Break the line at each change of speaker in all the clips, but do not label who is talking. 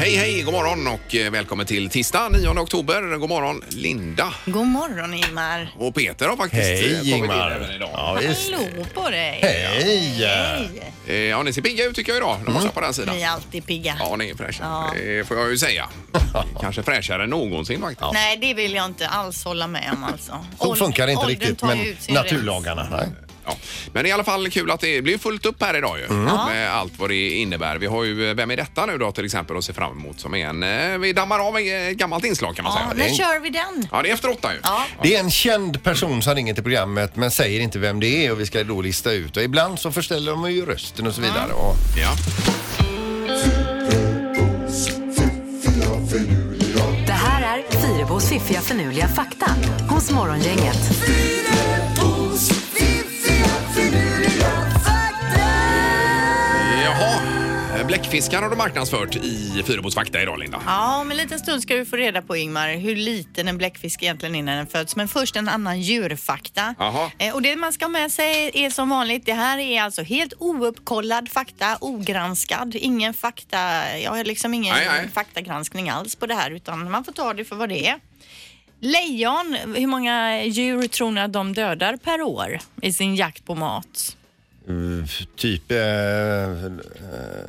Eh, hej, god morgon och eh, välkommen till tisdag 9 oktober. God morgon Linda.
God morgon Ingmar.
Och Peter har faktiskt eh,
Hej
kommit in
Ingmar!
även idag.
Ja, visst.
Hallå på dig.
Hej!
Hej.
Eh, Ja, ni ser pigga ut tycker jag idag.
Mm.
De måste på den sidan.
Ni är alltid pigga.
Ja, ni är fräscha.
Ja.
Eh, Får jag ju säga. Kanske fräschare än någonsin faktiskt.
Nej, det vill jag inte alls hålla med om alltså.
Så
Ål-
funkar det inte
åldern
riktigt
tar ju
men
ut sin
naturlagarna. Nej.
Ja. Men i alla fall kul att det blir fullt upp här idag ju.
Mm.
Med allt vad det innebär. Vi har ju eh, Vem är detta nu då till exempel att se fram emot som är en... eh, Vi dammar av ett gammalt inslag kan man
rätt. Ja,
säga.
när kör vi den?
Ja, det är efter åtta ju.
Ja.
Det är en känd person som ringer till programmet men säger inte vem det är och vi ska då lista ut. Och ibland så förställer de ju rösten och så vidare. Och
Ja.
Det här är Fyrabos fiffiga förnuliga fakta hos Morgongänget.
Jaha. Eh, Bläckfiskar har du marknadsfört i Fyrebos fakta idag Linda.
Ja, om en liten stund ska du få reda på Ingmar hur liten en bläckfisk egentligen är när den föds. Men först en annan djurfakta.
Jaha.
Eh, och det man ska ha med sig är som vanligt, det här är alltså helt ouppkollad fakta, ogranskad. Ingen fakta, jag har liksom ingen
Nej, nej.
faktagranskning alls på det här utan man får ta det för vad det är. Lejon, hur många djur tror ni att de dödar per år i sin jakt på mat?
mm, typ eh, eh,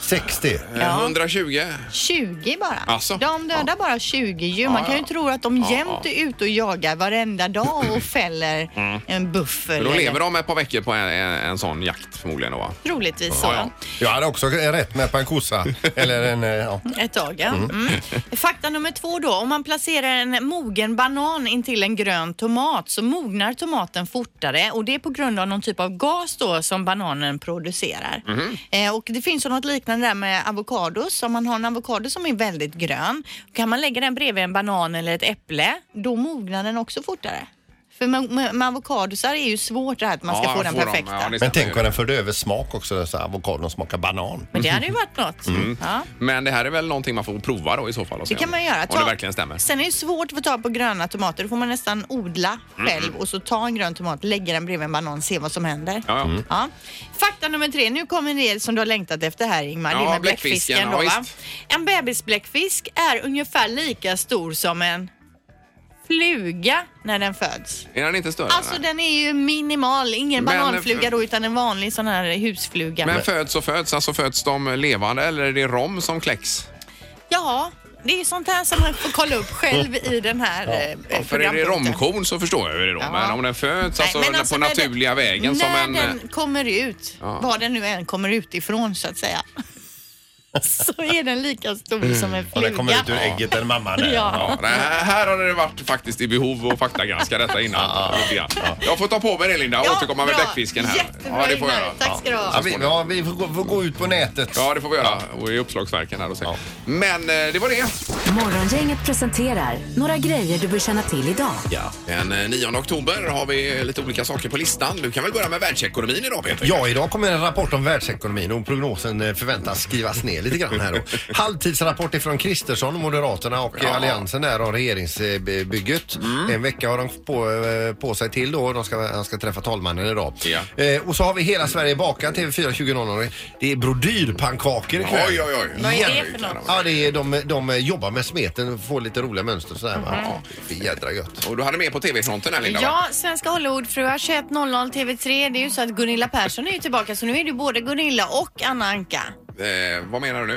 60.
Eh, 120.
20 bara.
Alltså?
De dödar bara 20 djur. Man kan ju
ja.
tro att de jämt är ute och jagar varenda dag och fäller en buffel.
Mm. Men då
eller-
lever de ett par veckor på en, en, en sån jakt förmodligen då va?
Troligtvis så.
ja.
Jag hade också rätt med på en kossa. Eller en, eh, ja.
Ett tag, ja. Mm. Fakta nummer två då. Om man placerar en mogen banan intill en grön tomat så mognar tomaten fortare och det är på grund av någon typ av gas då som bananen producerar.
Mm.
Eh, och det finns ju något liknande där med avokados. Om man har en avokado som är väldigt grön kan man lägga den bredvid en banan eller ett äpple. Då mognar den också fortare. För med, med, med avokadosar är ju svårt det här att man ska
Ja,
få den
får dem.
perfekta.
Ja, det
Men
stämmer
tänk
ju.
vad den förde över smak också. Så här, avokadon smakar banan.
Men det hade ju varit något.
Mm.
Ja.
Men det här är väl någonting man får prova då i så fall? och se
Det kan
om-
man göra.
Om det verkligen stämmer.
Sen är det svårt att få tag på gröna tomater. Då får man nästan odla själv och så ta en grön tomat, lägga den bredvid en banan, se vad som händer. Mm.
Ja, ja.
Ja. Fakta nummer tre. Nu kommer det som du har längtat efter här Ingmar. det
Ja,
är med
bläckfisken,
bläckfisken. Då,
ja,
va? En bebisbläckfisk är ungefär lika stor som en fluga när den föds.
Är den inte större?
Alltså
Nej.
den är ju minimal, ingen
Men-
bananfluga då utan en vanlig sån här husfluga.
Men föds och föds, alltså föds de levande eller är det rom som
Eh,
kläcks?
Ja, det är sånt här som man får kolla upp själv i den här eh,
Ja, för är det
programpunkten.
romkorn så förstår jag ju det då.
Ja.
Men om den föds alltså,
men
på
när
naturliga
den,
vägen
när
som en... eh,
den kommer ut, var den nu än kommer ut ifrån så att säga, så är den lika stor som en
Och
fluga.
Mm. den kommer ut ur ägget eller mamman. är.
Ja.
Ja, det här, här har det varit faktiskt i behov av att faktagranska detta innan. lite grann. Jag får ta på mig det Linda och
Ja,
återkomma med
bra.
bläckfisken här.
Jättebra,
det får jag
Ingmar.
göra. Alltså,
Tack ska du ha.
Ja, vi ja, vi får, gå, får gå ut på nätet.
Ja, det får vi göra. Och i uppslagsverken här och se.
Ja.
Men eh, det var det.
Morgongänget presenterar några grejer du bör känna till idag.
Ja. Den eh, 9 oktober har vi lite olika saker på listan. Du kan väl börja med världsekonomin idag Peter?
Ja, idag kommer en rapport om världsekonomin och prognosen eh, förväntas skrivas ner lite grann här då. Halvtidsrapport ifrån Kristersson, Moderaterna och
Ja. Mm.
eh, Alliansen där om regeringsbygget. En vecka har de på, eh, på sig till då. De ska, han ska träffa talmannen idag.
Ja.
Eh, och så har vi Hela Sverige bakar, TV4 20.00. Det är brodyrpannkakor ikväll.
Oj, oj, oj.
Vad är det för något?
Ja, det är, de, de jobbar med smeten, får lite roliga mönster och sådär. va.
Mm.
Ja, det är jädra gött.
Och du hade med på TV-fronten här Linda? va?
Ja, Svenska Hollywoodfruar 21.00 TV3. Det är ju så att Gunilla Persson är ju tillbaka så nu är det ju både Gunilla och Anna Anka.
Eh, vad menar du nu?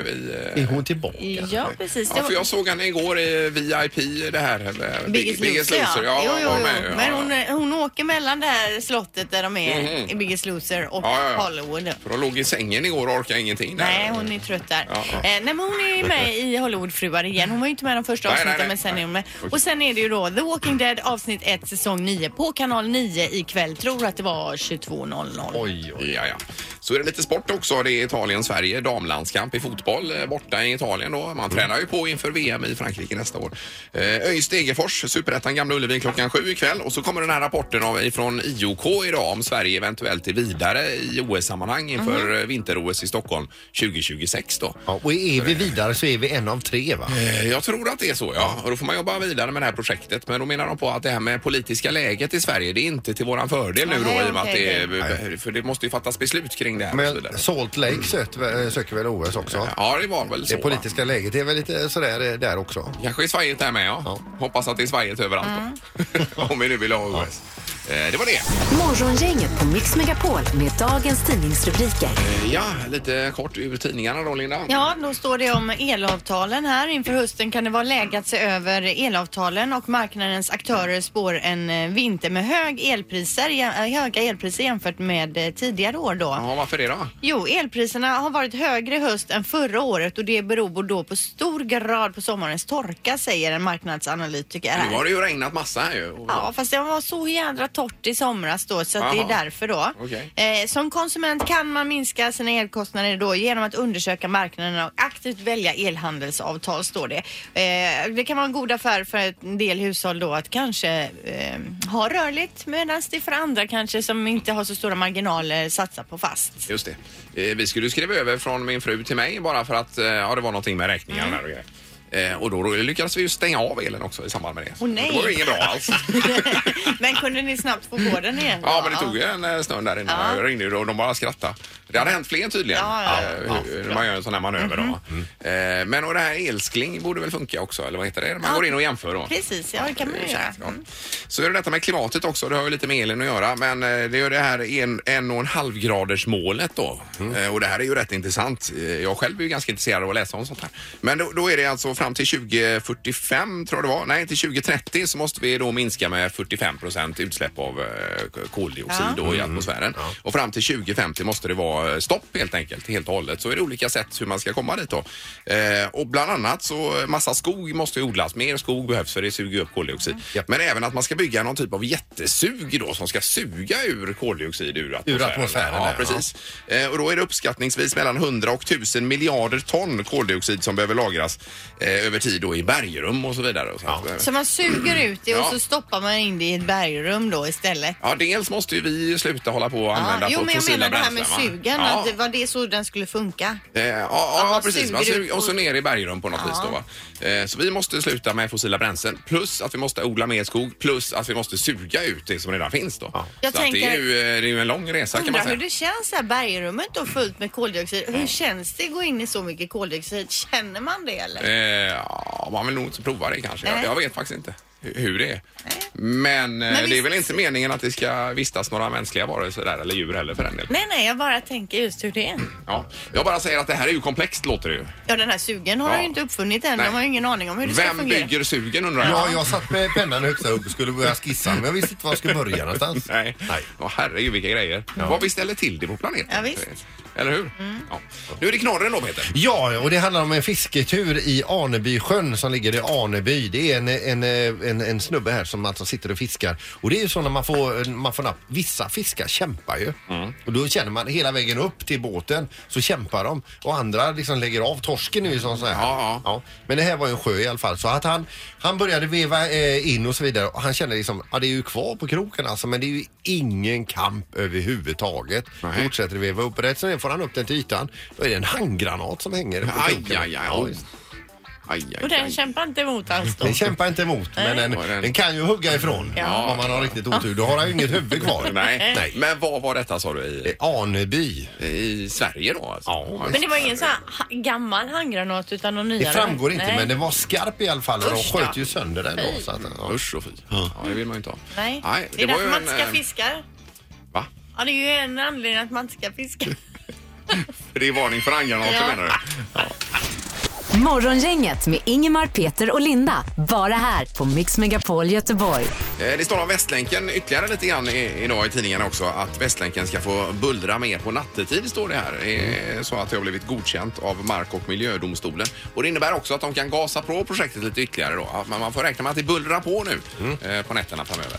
I, eh,
Är hon tillbaka?
Ja, precis. Det
Ja, för
var-
jag såg henne igår i VIP, det här. eh, Big-
Biggest,
Ja,
Loser, ja. jo,
var
jo,
med,
jo.
ja.
Men hon, hon åker mellan det här slottet där de är
Mhm.
i Biggest Loser och
Ja, ja, ja.
Hollywood.
För hon låg i sängen igår och orkade ingenting. där.
Nej, hon är trött där.
Ja, ja.
Eh, nej, men hon är ju med i Hollywoodfruar igen. Hon var ju inte med de första
Nej,
avsnitten,
nej, nej.
men sen är hon med.
Okej.
Och sen är det ju då The Walking Dead avsnitt 1, säsong 9 på kanal 9 ikväll. Tror att det var 22.00.
Oj, oj.
Ja, ja. Så är det lite sport också. Det är Italien-Sverige, damlandskamp i fotboll eh, borta i Italien. Då. Man tränar ju på inför VM i Frankrike nästa år. Eh, ÖIS Degerfors, Superettan Gamla Ullevi klockan sju ikväll. Och så kommer den här rapporten av, ifrån IOK idag om Sverige eventuellt är vidare i OS-sammanhang inför
Mhm.
eh, vinter-OS i Stockholm 2026. Då.
Ja, och är vi vidare så är vi en av tre va?
Eh, Jag tror att det är så, ja. Och då får man jobba vidare med det här projektet. Men då menar de på att det här med politiska läget i Sverige, det är inte till våran fördel nu då
Nej,
i och med att
okej,
det är, För det måste ju fattas beslut kring kring det här och så vidare.
Men Salt Lake söt- eh, söker väl OS också?
Ja, det var väl så.
Det
va?
politiska läget är väl lite sådär eh, där också.
Kanske är svajigt där med ja.
Ja.
Hoppas att det är svajigt överallt
Mm.
då. Om vi nu vill ha OS. Eh, det var det.
Morgongänget på Mix Megapol med dagens tidningsrubriker.
Eh, ja, lite kort ur tidningarna då Linda.
Ja, då står det om elavtalen här. Inför hösten kan det vara läge att se över elavtalen och marknadens aktörer spår en eh, vinter med hög elpriser, jä- eh, höga elpriser jämfört med eh, tidigare år då.
Ja, varför det då?
Jo, elpriserna har varit högre i höst än förra året och det beror då på stor grad på sommarens torka säger en marknadsanalytiker
Nu har
här.
det ju regnat massa här ju. Och-
Ja, fast det var så jädra torrt i somras då så att det är
Aha.
därför då.
Okej.
Eh, som konsument kan man minska sina elkostnader då genom att undersöka marknaden och aktivt välja elhandelsavtal står det. Eh, det kan vara en god affär för en del hushåll då att kanske eh, ha rörligt medan det för andra kanske som inte har så stora marginaler satsar på fast.
Just det. Eh, vi skulle skriva över från min fru till mig bara för att eh, ja, det var någonting med räkningarna
Mm.
där och grejer. Eh, och då lyckades vi ju stänga av elen också i samband med det.
Åh, nej.
Det var ju ingen bra alls.
Men kunde ni snabbt få på den igen?
Ja, men det tog ju en eh, stund där innan
Ja.
jag ringde ju och de bara skrattade. Det hade hänt fler tydligen.
Ja, ja, Mm. ja.
eh, hur- När man gör en sån här manöver då. Eh, Men och det här elskling borde väl funka också, eller vad heter det? Man
Ja.
går in och jämför då.
Precis, ja det kan man ju göra.
Ja. Så är det detta med klimatet också. Det har ju lite med elen att göra. Men eh, det är ju det här en, en och en halv graders målet då. Eh, Och det här är ju rätt intressant. Eh, Jag själv är ju ganska intresserad av att läsa om sånt här. Men då, då är det alltså fram till 2045 tror jag det var. Nej, till 2030 så måste vi då minska med 45 procent utsläpp av eh, k- koldioxid
Ja.
då i atmosfären. Och fram till 2050 måste det vara eh, stopp helt enkelt, helt och hållet. Så är det olika sätt hur man ska komma dit då. Eh, och bland annat så eh, massa skog måste ju odlas. Mer skog behövs för det suger ju upp koldioxid.
Japp.
Men även att man ska bygga någon typ av jättesug då som ska suga ur koldioxid ur atmosfären.
atmosfären,
ja,
ja.
precis. Eh, och då är det uppskattningsvis mellan 100 och 1000 miljarder ton koldioxid som behöver lagras eh, över tid då i bergrum och så vidare. Och så. Eh,
Så man suger ut det och
Ja.
så stoppar man in det i ett bergrum då istället.
Ja, dels måste ju vi sluta hålla på och använda
jo,
på
men jag
fossila
menar det här med
bränslen, va?
sugen,
Ja.
att det var det så den skulle funka?
Eh, ja, ja,
man
precis. Man
suger ut
suger, och så
på-
ner i bergrum på något vis. Då, va? Eh, så vi måste sluta med fossila bränslen plus att vi måste odla mer skog plus att vi måste suga ut det som redan finns. Då. Så
Jag
att det, är
tänker-
ju, eh, det är ju en lång resa kan man
Undrar hur
säga.
det känns det här bergrummet då fullt med koldioxid. Hur känns det att gå in i så mycket koldioxid? Känner man det eller?
Eh, ja, man vill nog inte prova det kanske. Jag,
Nej.
jag vet faktiskt inte hu- hur det är. Men, eh, det är
visst-
väl inte meningen att det ska vistas några mänskliga varelser där eller djur heller för den delen.
Nej, nej, jag bara tänker just hur det är.
Ja. Jag bara säger att det här är ju komplext låter det ju.
Ja, den här sugen har
Ja.
jag ju inte uppfunnit än.
Nej.
De har ju ingen aning om hur det ska
Vem
fungera.
bygger sugen undrar jag.
Ja, jag satt med pennan högst upp och skulle börja skissa men jag visste inte var jag skulle börja någonstans.
Nej.
Nej.
Åh, herregud vilka grejer. Vad vi ställer till det på planeten.
Ja, visst. Mm.
Eller hur? Ja. Nu är det knorren då Peter.
Ja, och det handlar om en fisketur i Anebysjön som ligger i Aneby. Det är en, en, eh, en, en snubbe här som alltså sitter och fiskar. Och det är ju så när man får, man får napp. Vissa fiskar kämpar ju.
Mm.
Och då känner man hela vägen upp till båten så kämpar de. Och andra liksom lägger av. Torsken är ju sån så här.
Ja, ja.
Men det här var ju en sjö i alla fall. Så att han, han började veva eh, in och så vidare. Och han kände liksom, ja det är ju kvar på kroken alltså. Men det är ju ingen kamp överhuvudtaget.
Nej.
Fortsätter veva upp. Rätt så det får han upp den till ytan. Då är det en handgranat som hänger på
Aj, aj,
kroken.
aj.
Ja,
aj.
visst.
aj,
Och
aj,
den
aj.
kämpar inte emot alls då?
Den kämpar inte emot men den,
Nej.
den kan ju hugga ifrån
Ja.
om man har riktigt otur. Då har han ju inget huvud kvar.
Nej.
Nej.
Men vad var detta sa du i,
Aneby.
i Sverige då? Alltså?
Ja,
Men det var ingen sån här ha- gammal handgranat utan någon nyare?
Det framgår inte
Nej.
men den var skarp i alla fall och de
Usch då.
sköt ju sönder den då. Så att, ja.
Usch och fy. Ja. det vill man ju inte ha.
Nej. det
det
är
var
därför
ju
man inte
en...
ska
eh,
fiska.
Va?
Ja, det är ju en anledning att man inte ska fiska.
Det är varning för handgranater
Ja.
menar du?
Morgongänget med Ingemar, Peter och Linda. Bara här på Mix Megapol Göteborg.
Eh, Det står om Västlänken ytterligare lite grann i- idag i tidningarna också att Västlänken ska få bullra mer på nattetid står det här. Eh, Så att det har blivit godkänt av Mark och miljödomstolen. Och det innebär också att de kan gasa på projektet lite ytterligare då. Att man- Man får räkna med att det bullrar på nu eh, på nätterna framöver.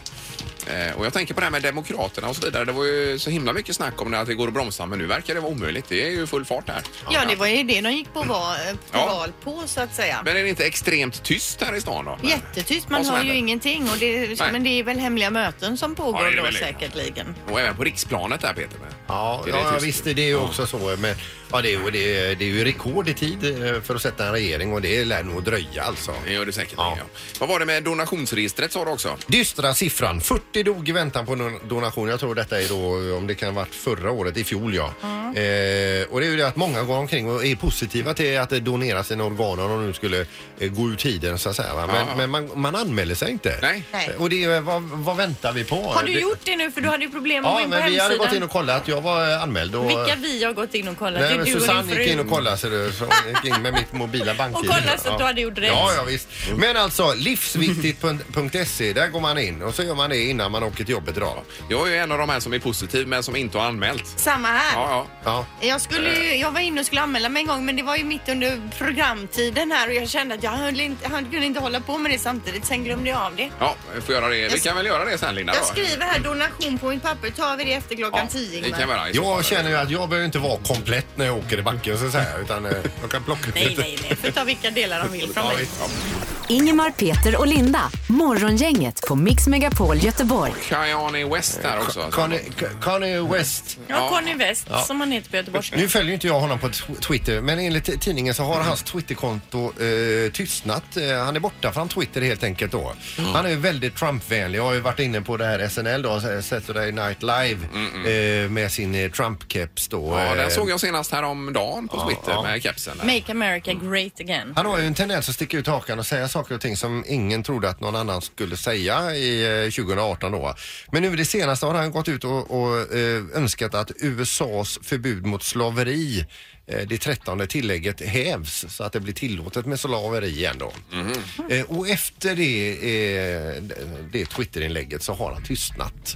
Eh, Och jag tänker på det här med Demokraterna och så vidare. Det var ju så himla mycket snack om det att det går att bromsa men nu verkar det vara omöjligt. Det är ju full fart här.
Ja, det var ju det de gick på val, på,
Mm. Ja.
val på så att säga.
Men är det inte extremt tyst här i stan då?
Jättetyst,
Vad
man
som
hör
händer?
ju ingenting. Och det,
Nej.
men det är väl hemliga möten som pågår
Ja, det är
då
väl det.
säkertligen.
Och även på riksplanet där Peter. med.
Ja,
Är det
ja
tyst?
visst det är ju också så. Men, ja, det, är, ju- det, är, det är ju rekord i tid eh, för att sätta en regering och det lär nog dröja alltså.
Det gör det säkert.
Ja.
Ja. Vad var det med donationsregistret sa du också?
Dystra siffran 40 40 dog i väntan på en donation. Jag tror detta är då, om det kan ha varit förra året, i fjol ja. Eh, och det är ju det att många går omkring och är positiva till att eh, donera sina organ om de nu skulle eh, gå ur tiden så att säga. Va? Men,
Ja.
men man, man anmäler sig inte.
Nej.
Nej.
Eh, Och det är, vad, vad väntar vi på?
Har du
Det-
gjort det nu? För du hade ju problem att gå
Ja,
in på
men vi hade
hemsidan.
gått in och kollat. Jag var eh, anmäld. Och,
Vilka vi har gått in och kollat? det
Nej,
är
men
du och
Susanne
din fru.
gick in och kollade så du, så hon gick in med mitt mobila bank
Och kollade så att du hade gjort rätt.
Ja, ja visst. Men alltså livsviktigt.se, E, där går man in och så gör man det innan man åker till jobbet idag.
Jag är ju en av de här som är positiv men som inte har anmält.
Samma här.
Ja, ja.
Ja.
Jag, skulle, ju- jag var inne och skulle anmäla mig en gång men det var ju mitt under programtiden här och jag kände att jag höll inte, han kunde inte hålla på med det samtidigt. Sen glömde jag av det.
Ja, vi får göra det. Vi kan väl göra det sen Linda?
Jag
då?
skriver här donation på mitt papper. Tar vi det efter klockan
Ja,
10
det
Ingmar?
kan vara.
Jag känner ju att jag behöver inte vara komplett när jag åker i backen så att säga, utan eh, jag kan plocka upp
Nej,
lite.
nej, nej. Får ta vilka delar de vill från
Ja,
mig.
visst.
Ingemar, Peter och Linda. Morgongänget på Mix Megapol Göteborg.
Kanye West här också.
Kanye- K- Kanye West.
Ja,
Ja.
Conny West som han heter på göteborgska.
Nu följer ju inte jag honom på tw- Twitter, men enligt tidningen så har hans Twitterkonto eh, tystnat. Eh, han är borta från Twitter helt enkelt då.
Mm.
Han är ju väldigt Trumpvänlig. Jag har ju varit inne på det här SNL då, Saturday Night Live, eh, med sin eh, Trump-keps då.
Mm, Ja,
Eh,
den såg jag senast häromdagen på Twitter
ja.
med kepsen. där.
Make America
Mm.
Great Again.
Han har ju en tendens att sticka ut hakan och säga saker och ting som ingen trodde att någon annan skulle säga i eh, 2018 då. Men nu i det senaste har han gått ut och, och eh, önskat att USAs förbud mot slaveri eh, det trettonde tillägget hävs så att det blir tillåtet med slaveri igen då. Eh, och efter det, eh, det Twitterinlägget så har han tystnat.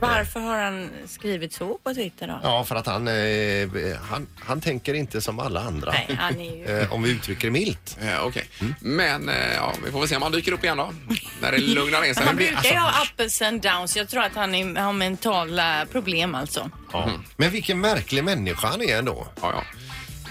Varför har han skrivit så på Twitter då?
Ja, för att han, eh, han, han tänker inte som alla andra.
Nej, han är ju...
Eh, om vi uttrycker det milt.
Eh, Okej,
Mm.
men eh, ja, vi får väl se om han dyker upp igen då. När det lugnar ner sig.
Han brukar ju
alltså-
ha uppes and downs. Jag tror att han är, har mentala problem alltså.
Mm. Men vilken märklig människa han är ändå.
Ja, ja.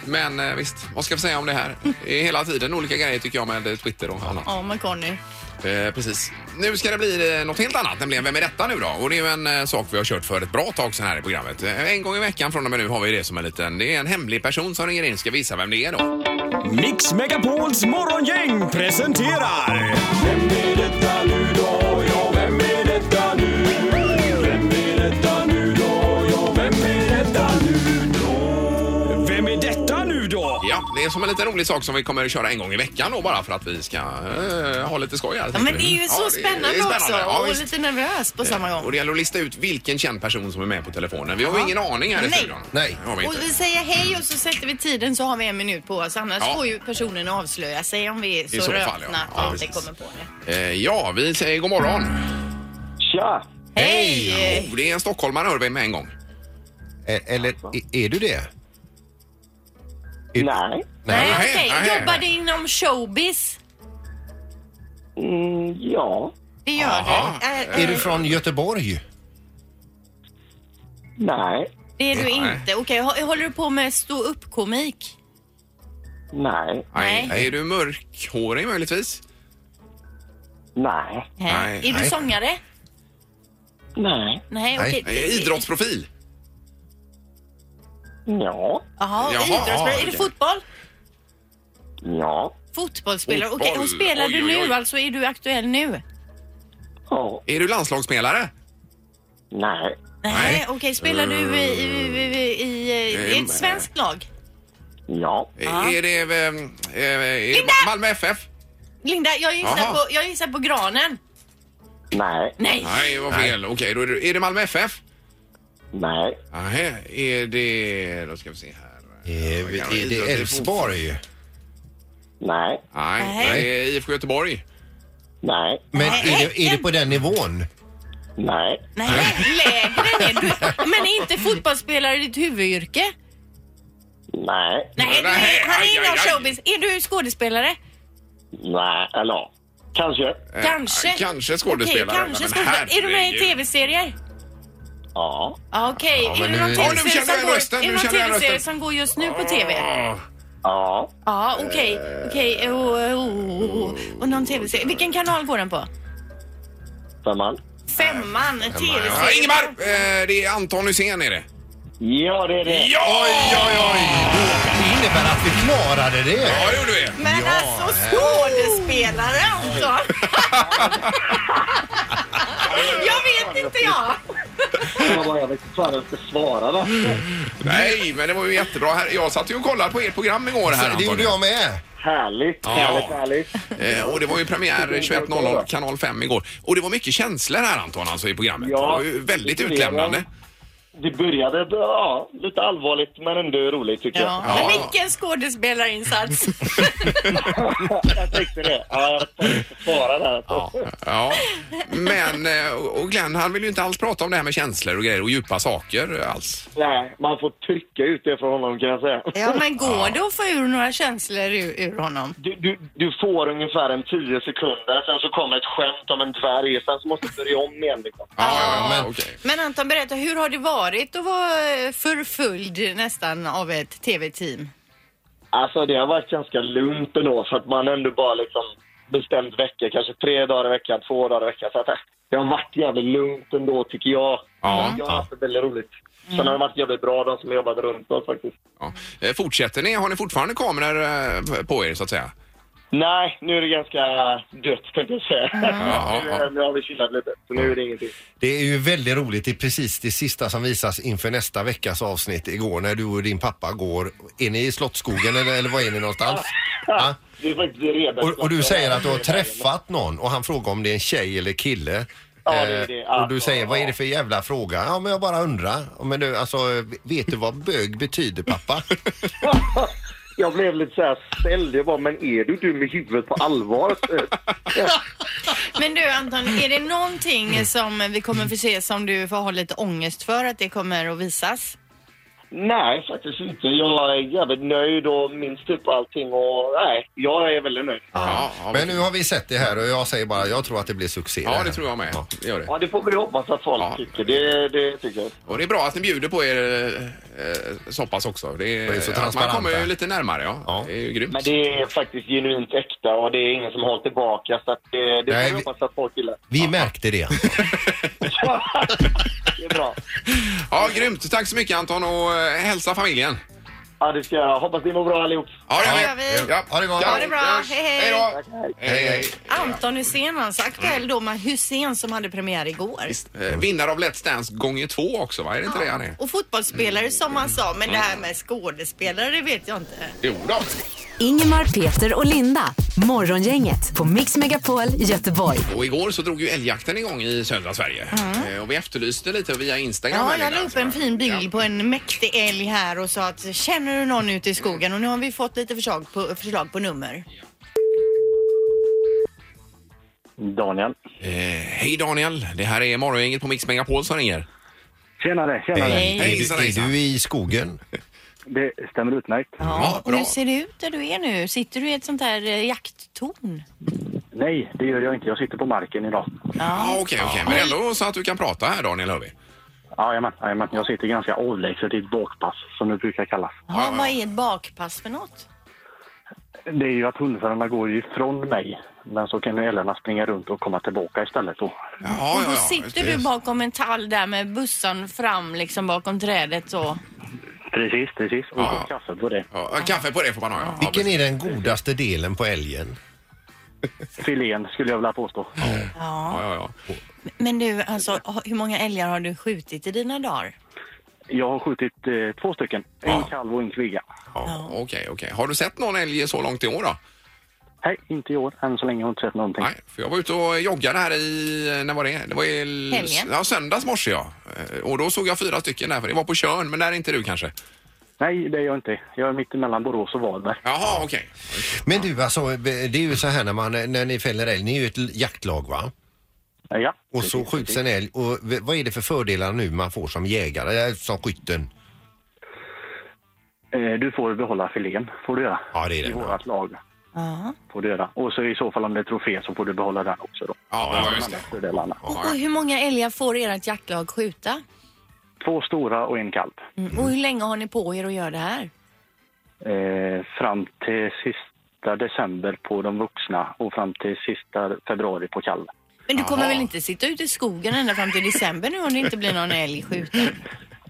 Men eh, visst, vad ska vi säga om det här? Det är hela tiden olika grejer tycker jag med eh, Twitter och annat.
Ja, men Conny.
Eh, precis. Nu ska det bli eh, något helt annat, nämligen Vem är detta nu då? Och det är ju en eh, sak vi har kört för ett bra tag sedan här i programmet. Eh, en gång i veckan från och med nu har vi det som en liten, det är en hemlig person som ringer in ska visa vem det är då.
Mix Megapols morgongäng presenterar... Vem är detta nu då? Ja, vem är detta nu? Vem är detta nu då? Ja, vem är detta nu då? Vem är detta nu då?
Ja, det är som en liten rolig sak som vi kommer att köra en gång i veckan då bara för att vi ska eh, ha lite skoj här.
Ja, men det är ju så
Ja, det är- det är
spännande, också
Ja,
och
visst.
lite nervös på samma
Och
gång.
det gäller att lista ut vilken känd person som är med på telefonen. Vi har ju ingen aning här i
Nej.
studion.
Nej.
Det har vi
Och
inte.
vi säger hej och så sätter vi tiden så har vi en minut på oss. Annars
Ja.
får ju personen avslöja sig om vi är så,
så fall,
rötna
ja.
att
Ja,
vi inte
precis.
kommer på det.
Eh, ja, vi säger god morgon.
Tja!
Hej!
Oh, det är en stockholmare hör vi med en gång.
E- Eller i- är du det? Är-
Typ.
Nej.
Nej,
Nej,
okej.
nej,
Jobbar
nej.
du inom showbiz?
Mm, ja.
Det gör
Jaha.
du. Äh,
Är
äh,
du från Göteborg?
Nej.
det är du
Nej.
inte. Okej, hå- håller du på med stå upp komik
Nej.
Nej.
Är du mörkhårig möjligtvis?
Nej.
Nej,
Äh, Är du
nej.
sångare?
Nej.
Nej,
Nej.
okej.
Eh, idrottsprofil?
Ja.
Jaha,
Jaha,
idrottsspelare. Är
okej.
det fotboll?
Ja.
Fotbollsspelare.
Fotboll.
Okej, och spelar
Oj,
du
oj, oj.
nu? Alltså, är du aktuell nu?
Ja.
Är du landslagsspelare?
Nej.
Nej.
Nej, okej. Spelar du i, i, i, i, i
Ehm,
ett svenskt lag?
Ja.
Ja.
Är det, eh, eh, är det
Linda!
Malmö FF?
Linda, jag gissar,
Jaha.
på, jag gissar på granen.
Nej.
Nej.
Nej, vad fel. Okej, då är det, är det Malmö FF?
Nej.
Nej, är det... Då ska vi se här.
Eh, Är,
Vad kan
är
idrott-
det Elfsborg?
Nej.
Nej,
Nej.
det är IFK Göteborg.
Nej.
Men är det, är det på den nivån?
Nej.
Nej, lägre ner. Du, men är inte fotbollsspelare ditt huvudyrke?
Nej.
Nej,
Nej,
du, är- han
aj,
är inom
aj, aj.
showbiz. Är du skådespelare?
Nej. Eller ja. Kanske.
Eh,
Kanske.
Kanske
Okej,
skådespelare.
kanske
Men
skådespelare. Är du med i
herregud.
tv-serier?
Ja.
Ja, Okej,
men
är det någon
nu- Ja,
nu
tv-serie
känner jag
som, går-
rösten,
är
nu
det någon
känner jag
TV-serie
rösten. Ah.
som går just nu på tv?
Åh,
Ja.
Ja, okej. Okej,
Eh.
oh, oh, oh, oh. och någon tv-serie. Vilken kanal går den på?
Femman.
Femman, en
Ja,
tv-serie.
Ingemar! Eh, det är Anton Hysén är det.
Ja, det är det.
Ja! Oj, oj, oj!
Det innebär att vi klarade det.
Ja, det gjorde vi.
Men alltså skådespelare Anton! Jag inte jag!
Jag bara, jag vet inte fan jag ska svara va?
Nej, men det var ju jättebra. Här- Jag satt ju och kollade på ert program igår här
Det gjorde
Anton.
jag med.
Härligt,
Ja.
härligt, härligt.
Eh, och det var ju premiär 21.00 kanal 5 igår. Och det var mycket känslor här Anton alltså i programmet.
Ja.
det var ju väldigt utlämnande.
Det började ja, lite allvarligt men ändå roligt tycker
Ja.
jag.
Ja.
Men vilken skådespelarinsats!
Jag tänkte det. Ja, jag tänkte inte svara där.
Ja. ja. Men eh, och Glenn han vill ju inte alls prata om det här med känslor och grejer och djupa saker alls.
Nej, man får trycka ut det från honom kan jag säga.
Ja, men går det att få ur några känslor ur, ur honom?
Du, du, du får ungefär en 10 sekunder, sen så kommer ett skämt om en dvärg, sen så måste du börja om igen. Liksom.
Ja, ja, ja,
Men-
okej.
Men Anton, berätta, hur har det varit att vara eh, förföljd nästan av ett TV-team?
Alltså det har varit ganska lugnt ändå för att man ändå bara liksom bestämt vecka, kanske tre dagar i veckan, två dagar i veckan. Så att, eh, det har varit jävligt lugnt ändå tycker jag.
Ja,
jag
ja.
har haft det väldigt roligt. Sen har det varit jävligt bra de som har jobbat runt oss faktiskt.
Ja. Eh, Fortsätter ni? Har ni fortfarande kameror eh, på er så att säga?
Nej, nu är det ganska dött tänkte jag säga.
Ja, ja, ja.
Nu har vi chillat lite, så nu är det ingenting.
Det är ju väldigt roligt. Det är precis det sista som visas inför nästa veckas avsnitt igår när du och din pappa går. Är ni i Slottsskogen eller, eller var är ni någonstans? Ja.
Det är faktiskt redan.
Och, och du säger att du har träffat någon och han frågar om det är en tjej eller kille.
Ja, det är det.
Eh, Och du
Alltså,
säger, vad är
ja.
det för jävla fråga? Ja, men jag bara undrar. Ja, Men du, alltså, vet du vad bög betyder pappa?
Jag blev lite så här ställd. Jag bara, men är du dum i huvudet på allvar? Eh,
Men du Anton, är det någonting som vi kommer få se som du får ha lite ångest för att det kommer att visas?
nej, faktiskt inte. Jag är jävligt nöjd och minns typ allting. Och, nej, jag är väldigt nöjd.
Ja, ja,
Men nu har vi sett det här och jag säger bara, jag tror att det blir succé.
ja,
här.
det tror jag med.
Ja.
Det gör det.
Ja, det får vi hoppas att folk
Ja.
tycker. Det, det tycker jag.
Och det är bra att ni bjuder på er eh, eh, så pass också. Det är,
Det är så
att man
transparenta.
kommer ju lite närmare, ja.
Ja.
Det är ju grymt.
Men det är faktiskt genuint äkta och det är ingen som håller tillbaka. Så att eh, det, det
Nej,
får vi
vi-
hoppas att folk gillar.
Vi märkte det.
det är bra.
Ja, grymt. Tack så mycket Anton och eh, hälsa familjen.
Ja, det ska jag. Hoppas ni mår bra allihop.
Ja,
Det gör vi.
Ja.
Ha det gott.
Ha det bra. Hej, hej.
Hej då. Hej, hej.
Anton Hussein alltså, aktuell då med Hussein som hade premiär igår.
Eh, Vinnare av Let's Dance gånger två också, va? Är det inte det han är?
Och fotbollsspelare som han sa, men det här med skådespelare det vet jag inte.
Jo då.
Ingemar, Peter och Linda. Morgongänget på Mix Megapol Göteborg.
Och igår så drog ju älgjakten igång i södra Sverige. Eh, Och vi efterlyste lite via Instagram.
Mm. Ja,
här,
jag la
Linda.
upp en fin bild på en mäktig älg här och sa att känner du någon ute i skogen? Och nu har vi fått lite förslag på, förslag på nummer.
Daniel.
Eh, hej Daniel, det här är Morgongänget på Mix Megapol som ringer.
Tjenare, tjenare.
Hej.
Är, du- är du i skogen?
Det stämmer utmärkt.
Ja,
Ja, och
bra.
hur ser det ut där du är nu? Sitter du i ett sånt här eh, jakttorn?
Nej, det gör jag inte. Jag sitter på marken idag.
Ja, okej, okej. Men ändå så att du kan prata här Daniel, hör vi.
Jajamän, jajamän. Jag sitter ganska avlägset i ett bakpass, som det brukar kallas.
Ja, vad är ett bakpass för något?
Det är ju att hundförarna går ju ifrån mig, men så kan ju älgarna springa runt och komma tillbaka istället. Då.
Ja,
och då
ja, ja. just
sitter
det.
du bakom en tall där med bussan fram liksom bakom trädet så.
Precis, precis. Och
Ja.
ja. kaffe på det.
Ja, kaffe på det får man ha, ja. ja.
Vilken är den godaste delen på älgen?
Filén, skulle jag vilja påstå.
Ja.
Ja, ja, ja.
Men du, alltså ha- hur många älgar har du skjutit i dina dagar?
Jag har skjutit eh, två stycken. En
Ja.
kalv och en kviga.
ja. Okej, okej. Har du sett någon älg så långt i år då?
Nej, inte i år. Än så länge har jag inte sett någonting.
Nej, för jag var ute och joggade här i, när var det? Det var i l-
Helgen.
ja, söndags morse ja. Eh, Och då såg jag fyra stycken där, för det var på Körn, men där är inte du kanske?
Nej, det är jag inte. Jag är mitt emellan Borås och Varberg.
Jaha, okej.
Men du, alltså, det är ju så här när, man, när ni fäller älg, ni är ju ett jaktlag va?
Ja,
Och så
precis,
skjuts
precis.
en älg. Och v- vad är det för fördelar nu man får som jägare, eh, som skytten?
Eh, Du får behålla filén, får du göra.
Ja, det är det.
I vårat lag.
Ja.
får du göra. Och så i så fall om det är trofé så får du behålla den också då.
Ja, ja, just
Alla
det.
fördelarna.
Och, och hur många älgar får ert jaktlag skjuta?
Två stora och en kalv.
Mm. Och hur länge har ni på er att göra det här?
Eh, fram till sista december på de vuxna och fram till sista februari på kalven.
Men du kommer
Jaha.
väl inte sitta ute i skogen ända fram till december nu om det inte blir någon älg skjuten?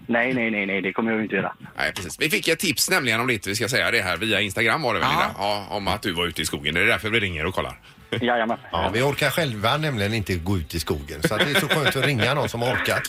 Nej, nej, nej, nej, det kommer jag ju inte göra.
Nej, precis. Vi fick ett tips nämligen om ditt, vi ska säga det här, via Instagram var det väl
Ja.
Linda? Ja, om att du var ute i skogen. Det är därför vi ringer och kollar.
Jajamän.
Ja, vi orkar själva nämligen inte gå ut i skogen. Så att det är så skönt att ringa någon som har orkat.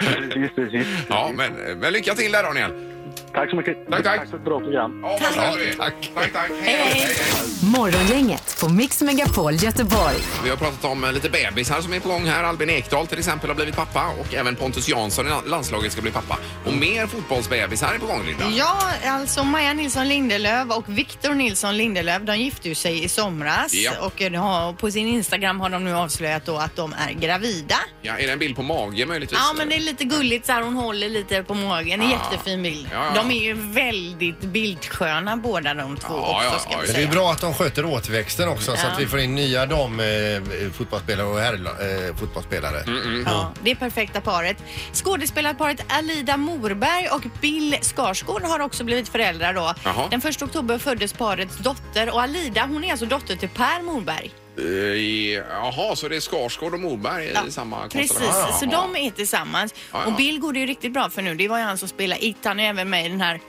Precis, precis.
Ja, men, eh, men lycka till där Daniel.
Tack så mycket.
Tack, tack.
för ett bra program.
Ja, vad snäll du är.
tack.
Tack, tack. Hej, hej. hej.
Morgongänget på Mix Megapol Göteborg.
Vi har pratat om eh, lite bebisar som är på gång här. Albin Ekdal till exempel har blivit pappa och även Pontus Jansson i la- landslaget ska bli pappa. Och mer fotbollsbebisar är på gång, Linda.
Ja, alltså Maja Nilsson Lindelöf och Victor Nilsson Lindelöf, de gifte ju sig i somras
Ja.
och eh, har- på sin Instagram har de nu avslöjat då att de är gravida.
Ja, är det en bild på mage möjligtvis?
Ja, men det är lite gulligt så här, hon håller lite på magen. En
Ah.
jättefin bild.
Ja, ja.
De är ju väldigt bildsköna båda de två
Ja, ja,
också ska
ja,
vi
det är
Det är
säga.
bra att de sköter återväxten också så
Ja.
att vi får in nya damfotbollsspelare och eh, herrfotbollsspelare.
Mm, Ja, det är perfekta paret. Skådespelarparet Alida Morberg och Bill Skarsgård har också blivit föräldrar då.
Jaha.
Den 1 oktober föddes parets dotter och Alida hon är alltså dotter till Per Morberg.
Eh, i- Jaha, så det är Skarsgård och Morberg i samma
Precis,
konstellation?
så de är tillsammans.
Ja, ja.
Och Bill går det ju riktigt bra för nu. Det var ju han som spelade It. Han är även med i den här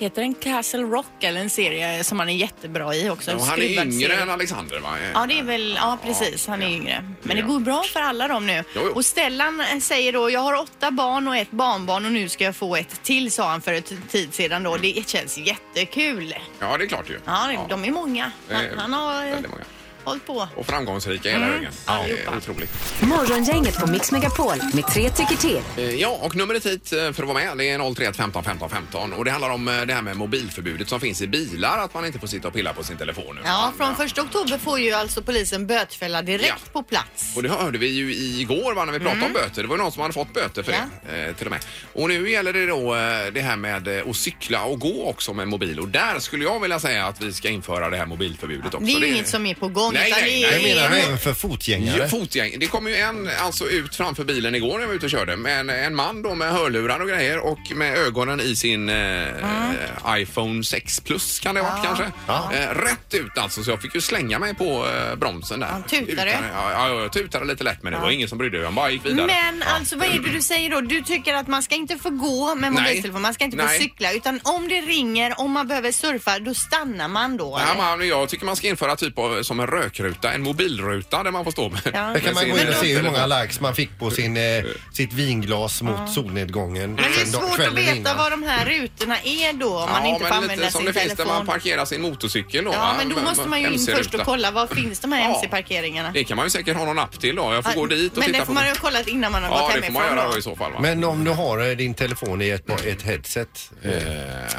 Heter den Castle Rock eller en serie som han är jättebra i också?
Och han är
Skruvad
yngre
serie.
än Alexander, va?
Ja, det är väl, ja precis, han är yngre. Men det
Ja.
går bra för alla dem nu.
Jo, jo.
Och Stellan eh, säger då, jag har åtta barn och ett barnbarn och nu ska jag få ett till, sa han för ett tid sedan då. Det känns jättekul.
Ja, det är klart ju.
Ja, de är många. Han,
Eh,
han har eh,
väldigt många.
hållit på.
Och framgångsrika i hela
Mm,
vägen. Ja, det är otroligt.
Morgongänget på Mix Megapol med tre tycker till.
Eh, Ja, och numret hit eh, för att vara med det är 031 15 15 15 och det handlar om eh, det här med mobilförbudet som finns i bilar, att man inte får sitta och pilla på sin telefon. nu.
Ja, från första oktober får ju alltså polisen bötfälla direkt
Ja.
på plats.
Och det hörde vi ju igår va, när vi pratade
Mm.
om böter. Det var ju någon som hade fått böter för det eh, till och med. Och nu gäller det då eh, det här med eh, att cykla och gå också med mobil och där skulle jag vilja säga att vi ska införa det här mobilförbudet också.
Det är ju inget som är på gång.
Nej,
utan
nej,
det
nej,
är-
Jag menar
nej.
även för
Ja,
fotgängare.
Fotgäng. Det kom ju en alltså, ut framför bilen igår när jag var ute och körde. Men en man då med hörlurar och grejer och med ögonen i sin eh, eh, iPhone 6 plus kan det ha varit kanske.
Ja.
Eh, rätt ut alltså så jag fick ju slänga mig på eh, bromsen där.
Ja, tutade.
Utan- Ja, ja, jag tutade lite lätt men det var ingen som brydde sig. Han bara gick vidare.
Men alltså vad är det du säger då? Du tycker att man ska inte få gå med
Nej.
mobiltelefon, man ska inte
Nej.
få cykla utan om det ringer, om man behöver surfa, då stannar man då?
Ja,
eller?
man, jag tycker man ska införa typ av, som en rökruta, en mobilruta där man får stå med.
Ja.
Där kan
med
man
sin eh,
gå in och se hur
telefon.
många likes man fick på sin, eh, sitt vinglas mot solnedgången.
Men det är
sen då-
svårt att
kvällen
veta
innan.
vad de här rutorna är då om man inte får
men
använda
lite som
sin
det finns där man
telefon.
parkerar sin motorcykel då.
Ja,
va?
men då
Med-
måste man ju in
MC-ruta.
först och kolla var finns de här
Ja.
mc-parkeringarna.
Det kan man ju säkert ha någon app till då. Jag får gå dit och
men
titta
det får
på...
man ju ha kollat innan man har
ja,
gått
det får man
hemifrån.
göra
då.
då i så fall. Va?
Men om du har eh, din telefon i ett, ett headset. eh,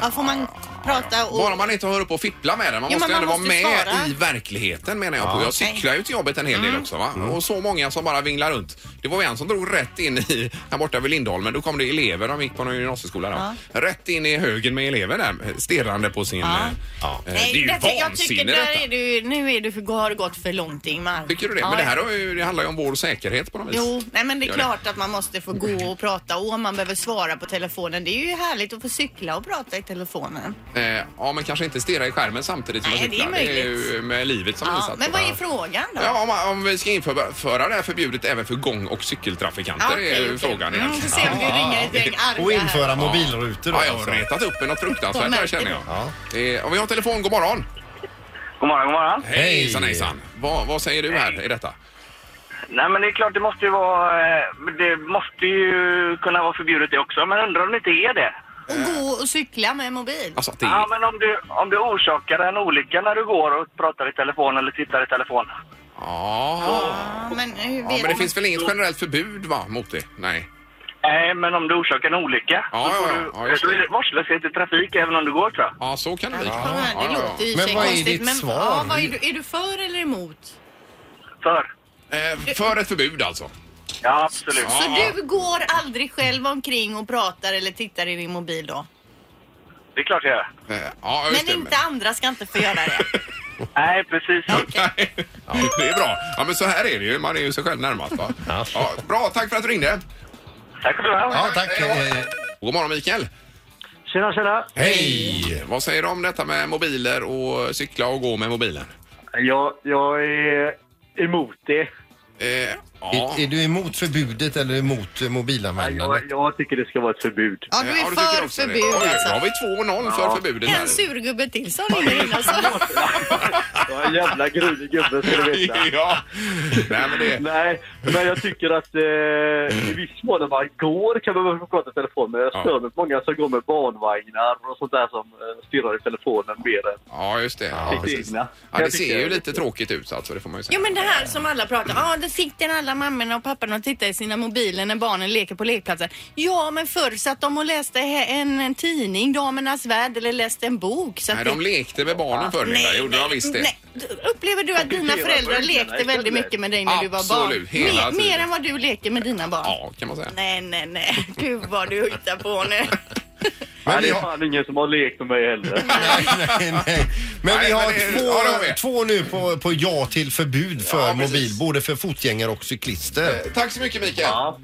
ja, får man prata och...
Bara man inte hör upp och fippla med det. Man
Jo,
måste
men man
ändå vara
måste
med
svara.
i verkligheten menar jag. På. Jag cyklar ju till jobbet en hel del
Mm.
också. Va? Och så många som bara vinglar runt. Det var ju en som drog rätt in i, här borta vid Lindholmen, då kom det elever, de gick på någon gymnasieskola då. Rätt in i högen med elever där, stirrande på sin... eh, eh,
Nej,
det är ju
detta, jag tycker
vansinne detta.
där är du, nu är du för, har det gått för långt Ingmar.
Tycker du det?
Ja,
Men det
ja.
här har ju, det handlar ju om vår säkerhet på något vis.
Jo, nej men det är
Gör
klart att man måste få gå och prata och man behöver svara på telefonen. Det är ju härligt att få cykla och prata i telefonen.
Eh, ja, men kanske inte stirra i skärmen samtidigt som
Nej,
man
det är
cyklar. Det är
möjligt.
ju med livet som
Ja,
insats.
men vad är frågan då?
Ja, om, man- om vi ska införa föra det här förbudet även för gång och cykeltrafikanter
Ja, okej,
är ju
okej.
frågan
Mm,
egentligen.
får se om du ringer ett gäng arga
Och
här.
införa mobilrutor. då,
Ja, jag
alltså.
har retat upp mig något fruktansvärt här känner jag.
Ja.
Eh, om vi har telefon, god morgon.
God morgon, god morgon.
Hej. Hejsan, hejsan. Vad, vad säger du här i detta?
Nej, men det är klart, det måste ju vara... eh, Det måste ju kunna vara förbjudet det också, men undrar om det inte är det?
Och gå och cykla med mobil.
Alltså, att det,
Ja, men om du, om du orsakar en olycka när du går och pratar i telefon eller tittar i telefon.
ja.
Ja, men hur
ja,
vet
men det
man?
finns väl inget generellt förbud va, mot det? Nej.
Nej, men om du orsakar en olycka.
Ja,
då får
ja, ja.
du-
Ja, just
då är
det.
det vårdslöshet i trafik även om du går, tror jag.
Ja, så kan det bli.
Ja, men det låter i och för
Men
sig
vad är
konstigt,
ditt
men,
svar?
Ja, vad är, du, är du för eller emot?
För.
Eh, för ett förbud alltså.
Ja, absolut.
Ja.
Så du går aldrig själv omkring och pratar eller tittar i din mobil då?
Det är klart jag gör.
Eh, ja, just
Men
det.
inte andra ska inte få göra det.
Nej, precis.
Nej. Det är bra. Ja, men så här är det ju. Man är ju sig själv närmast. Va?
Ja.
Ja, bra, tack för att du ringde.
Tack för det.
Ja, tack. eh,
God morgon Mikael.
Tjena, tjena.
Hej! Eh, Vad säger du om detta med mobiler och cykla och gå med mobilen?
Jag, jag är emot det.
Eh, Ja.
Är, är du emot förbudet eller emot eh, mobilanvändandet?
Jag, jag tycker det ska vara ett förbud.
Ja, du
Ja,
är
du tycker
för
också det.
förbud
Oj, Då har
alltså.
vi 2-0 för förbudet här.
En surgubbe till som ringer in alltså.
Jag är en jävla grunig gubbe ska du veta.
ja. Nej, men det...
Nej, men jag tycker att eh, i viss mån när man går kan man få prata i telefon. Men jag
Ja.
stör mig på många som går med barnvagnar och sånt där som eh, stirrar i telefonen mer än
Ja, just det. Ja,
sitt
precis.
egna.
Ja, det
Jag tycker
ser ju
jag-
lite tråkigt ut alltså, det får man ju säga.
Jo men det här som alla pratar om. Ja, då sitter alla mammorna och papporna och tittar i sina mobiler när barnen leker på lekplatsen. Ja, men förr satt de och läste he- en, en tidning, Damernas Värld, eller läste en bok. Så att
Nej,
det-
de lekte med barnen förr, Linda. Gjorde de visst det?
nej. Upplever du att dina
Fokusera på
föräldrar
ungarna
lekte
istället.
väldigt mycket med dig när du var barn?
Absolut, hela
mer,
tiden.
mer än vad du leker med dina barn?
Ja, kan man säga.
Nej, nej, nej. Gud vad du hittar på nu.
Men
Nej,
vi
det är
har,
fan ingen som har lekt med mig heller.
nej, nej, nej. Men
Nej,
vi har
men det-
två,
ja, det har vi.
två nu på, på ja till förbud för
Ja, precis.
mobil, både för fotgängare och cyklister.
Tack så mycket, Mikael.
Ja.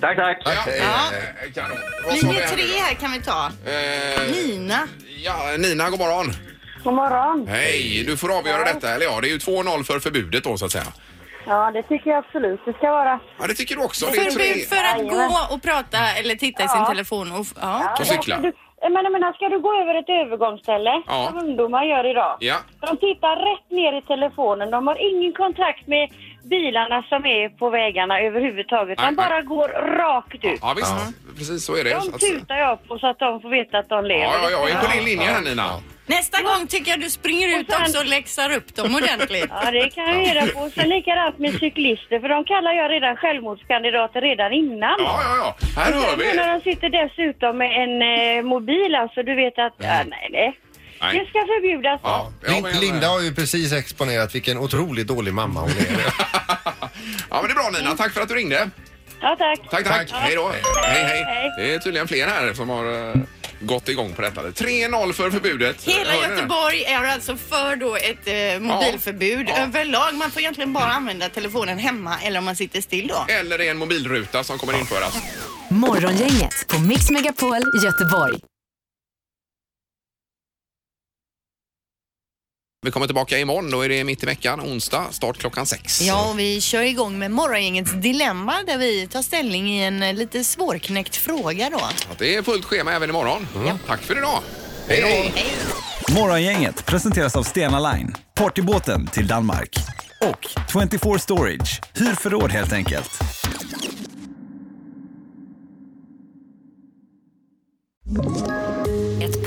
Tack, tack.
Ja,
Ja.
eh, kanon. Vad sa vi
Linje
här nu
tre här kan vi ta.
då? Eh,
Nina.
ja, Nina, god morgon.
God morgon.
Hej, du får avgöra detta. Eller ja, det är ju 2-0 för förbudet då så att säga.
Ja, det tycker jag absolut det ska vara.
Ja, det tycker du också. Det är tre.
Förbud för att gå och prata eller titta i sin telefon. Och, f- ja.
Och cykla.
Du, eh, men jag menar, ska du gå över ett övergångsställe
Ja.
som ungdomar gör idag?
Ja.
De tittar rätt ner i telefonen. De har ingen kontakt med bilarna som är på vägarna överhuvudtaget. De
Nej, nej.
bara går rakt ut.
Ja, visst. Precis så är det. Så
De
att-
tutar jag på så att de får veta att de lever.
Ja, ja, jag är på din linje här Nina.
Nästa gång tycker jag du springer ut också och läxar upp dem ordentligt.
Ja, det kan jag göra på. Sen likadant med cyklister, för de kallar jag redan självmordskandidater redan innan.
Ja, ja, ja. Här hör
Sen
vi.
när de sitter dessutom med en eh, mobil, alltså du vet att, ja, nej, nej.
Nej.
Det ska förbjudas.
Ja, ja,
Lin-
men-
Linda har ju precis exponerat vilken otroligt dålig mamma hon är.
Ja, men det är bra Nina. Tack för att du ringde.
Ja, tack.
Tack, tack.
Tack.
Hej då. Hej, hej.
Hej.
Det är tydligen fler här som har eh, gått igång på detta. 3-0 för förbudet.
Hela
Hörde ni det?
Göteborg är alltså för då ett eh, mobilförbud
Ja.
överlag. Man får egentligen bara använda telefonen hemma eller om man sitter still då.
Eller det är en mobilruta som kommer införas.
Morgongänget på Mix Megapol Göteborg.
Vi kommer tillbaka imorgon. Då är det mitt i veckan, onsdag, start klockan sex.
Ja, och vi kör igång med morgongängets dilemma där vi tar ställning i en eh, lite svårknäckt fråga då.
Att Det är fullt schema även imorgon. Tack för idag. Hej då.
Morgongänget presenteras av Stena Line, partybåten till Danmark. Och 24 Storage, hyr förråd helt enkelt.
Ett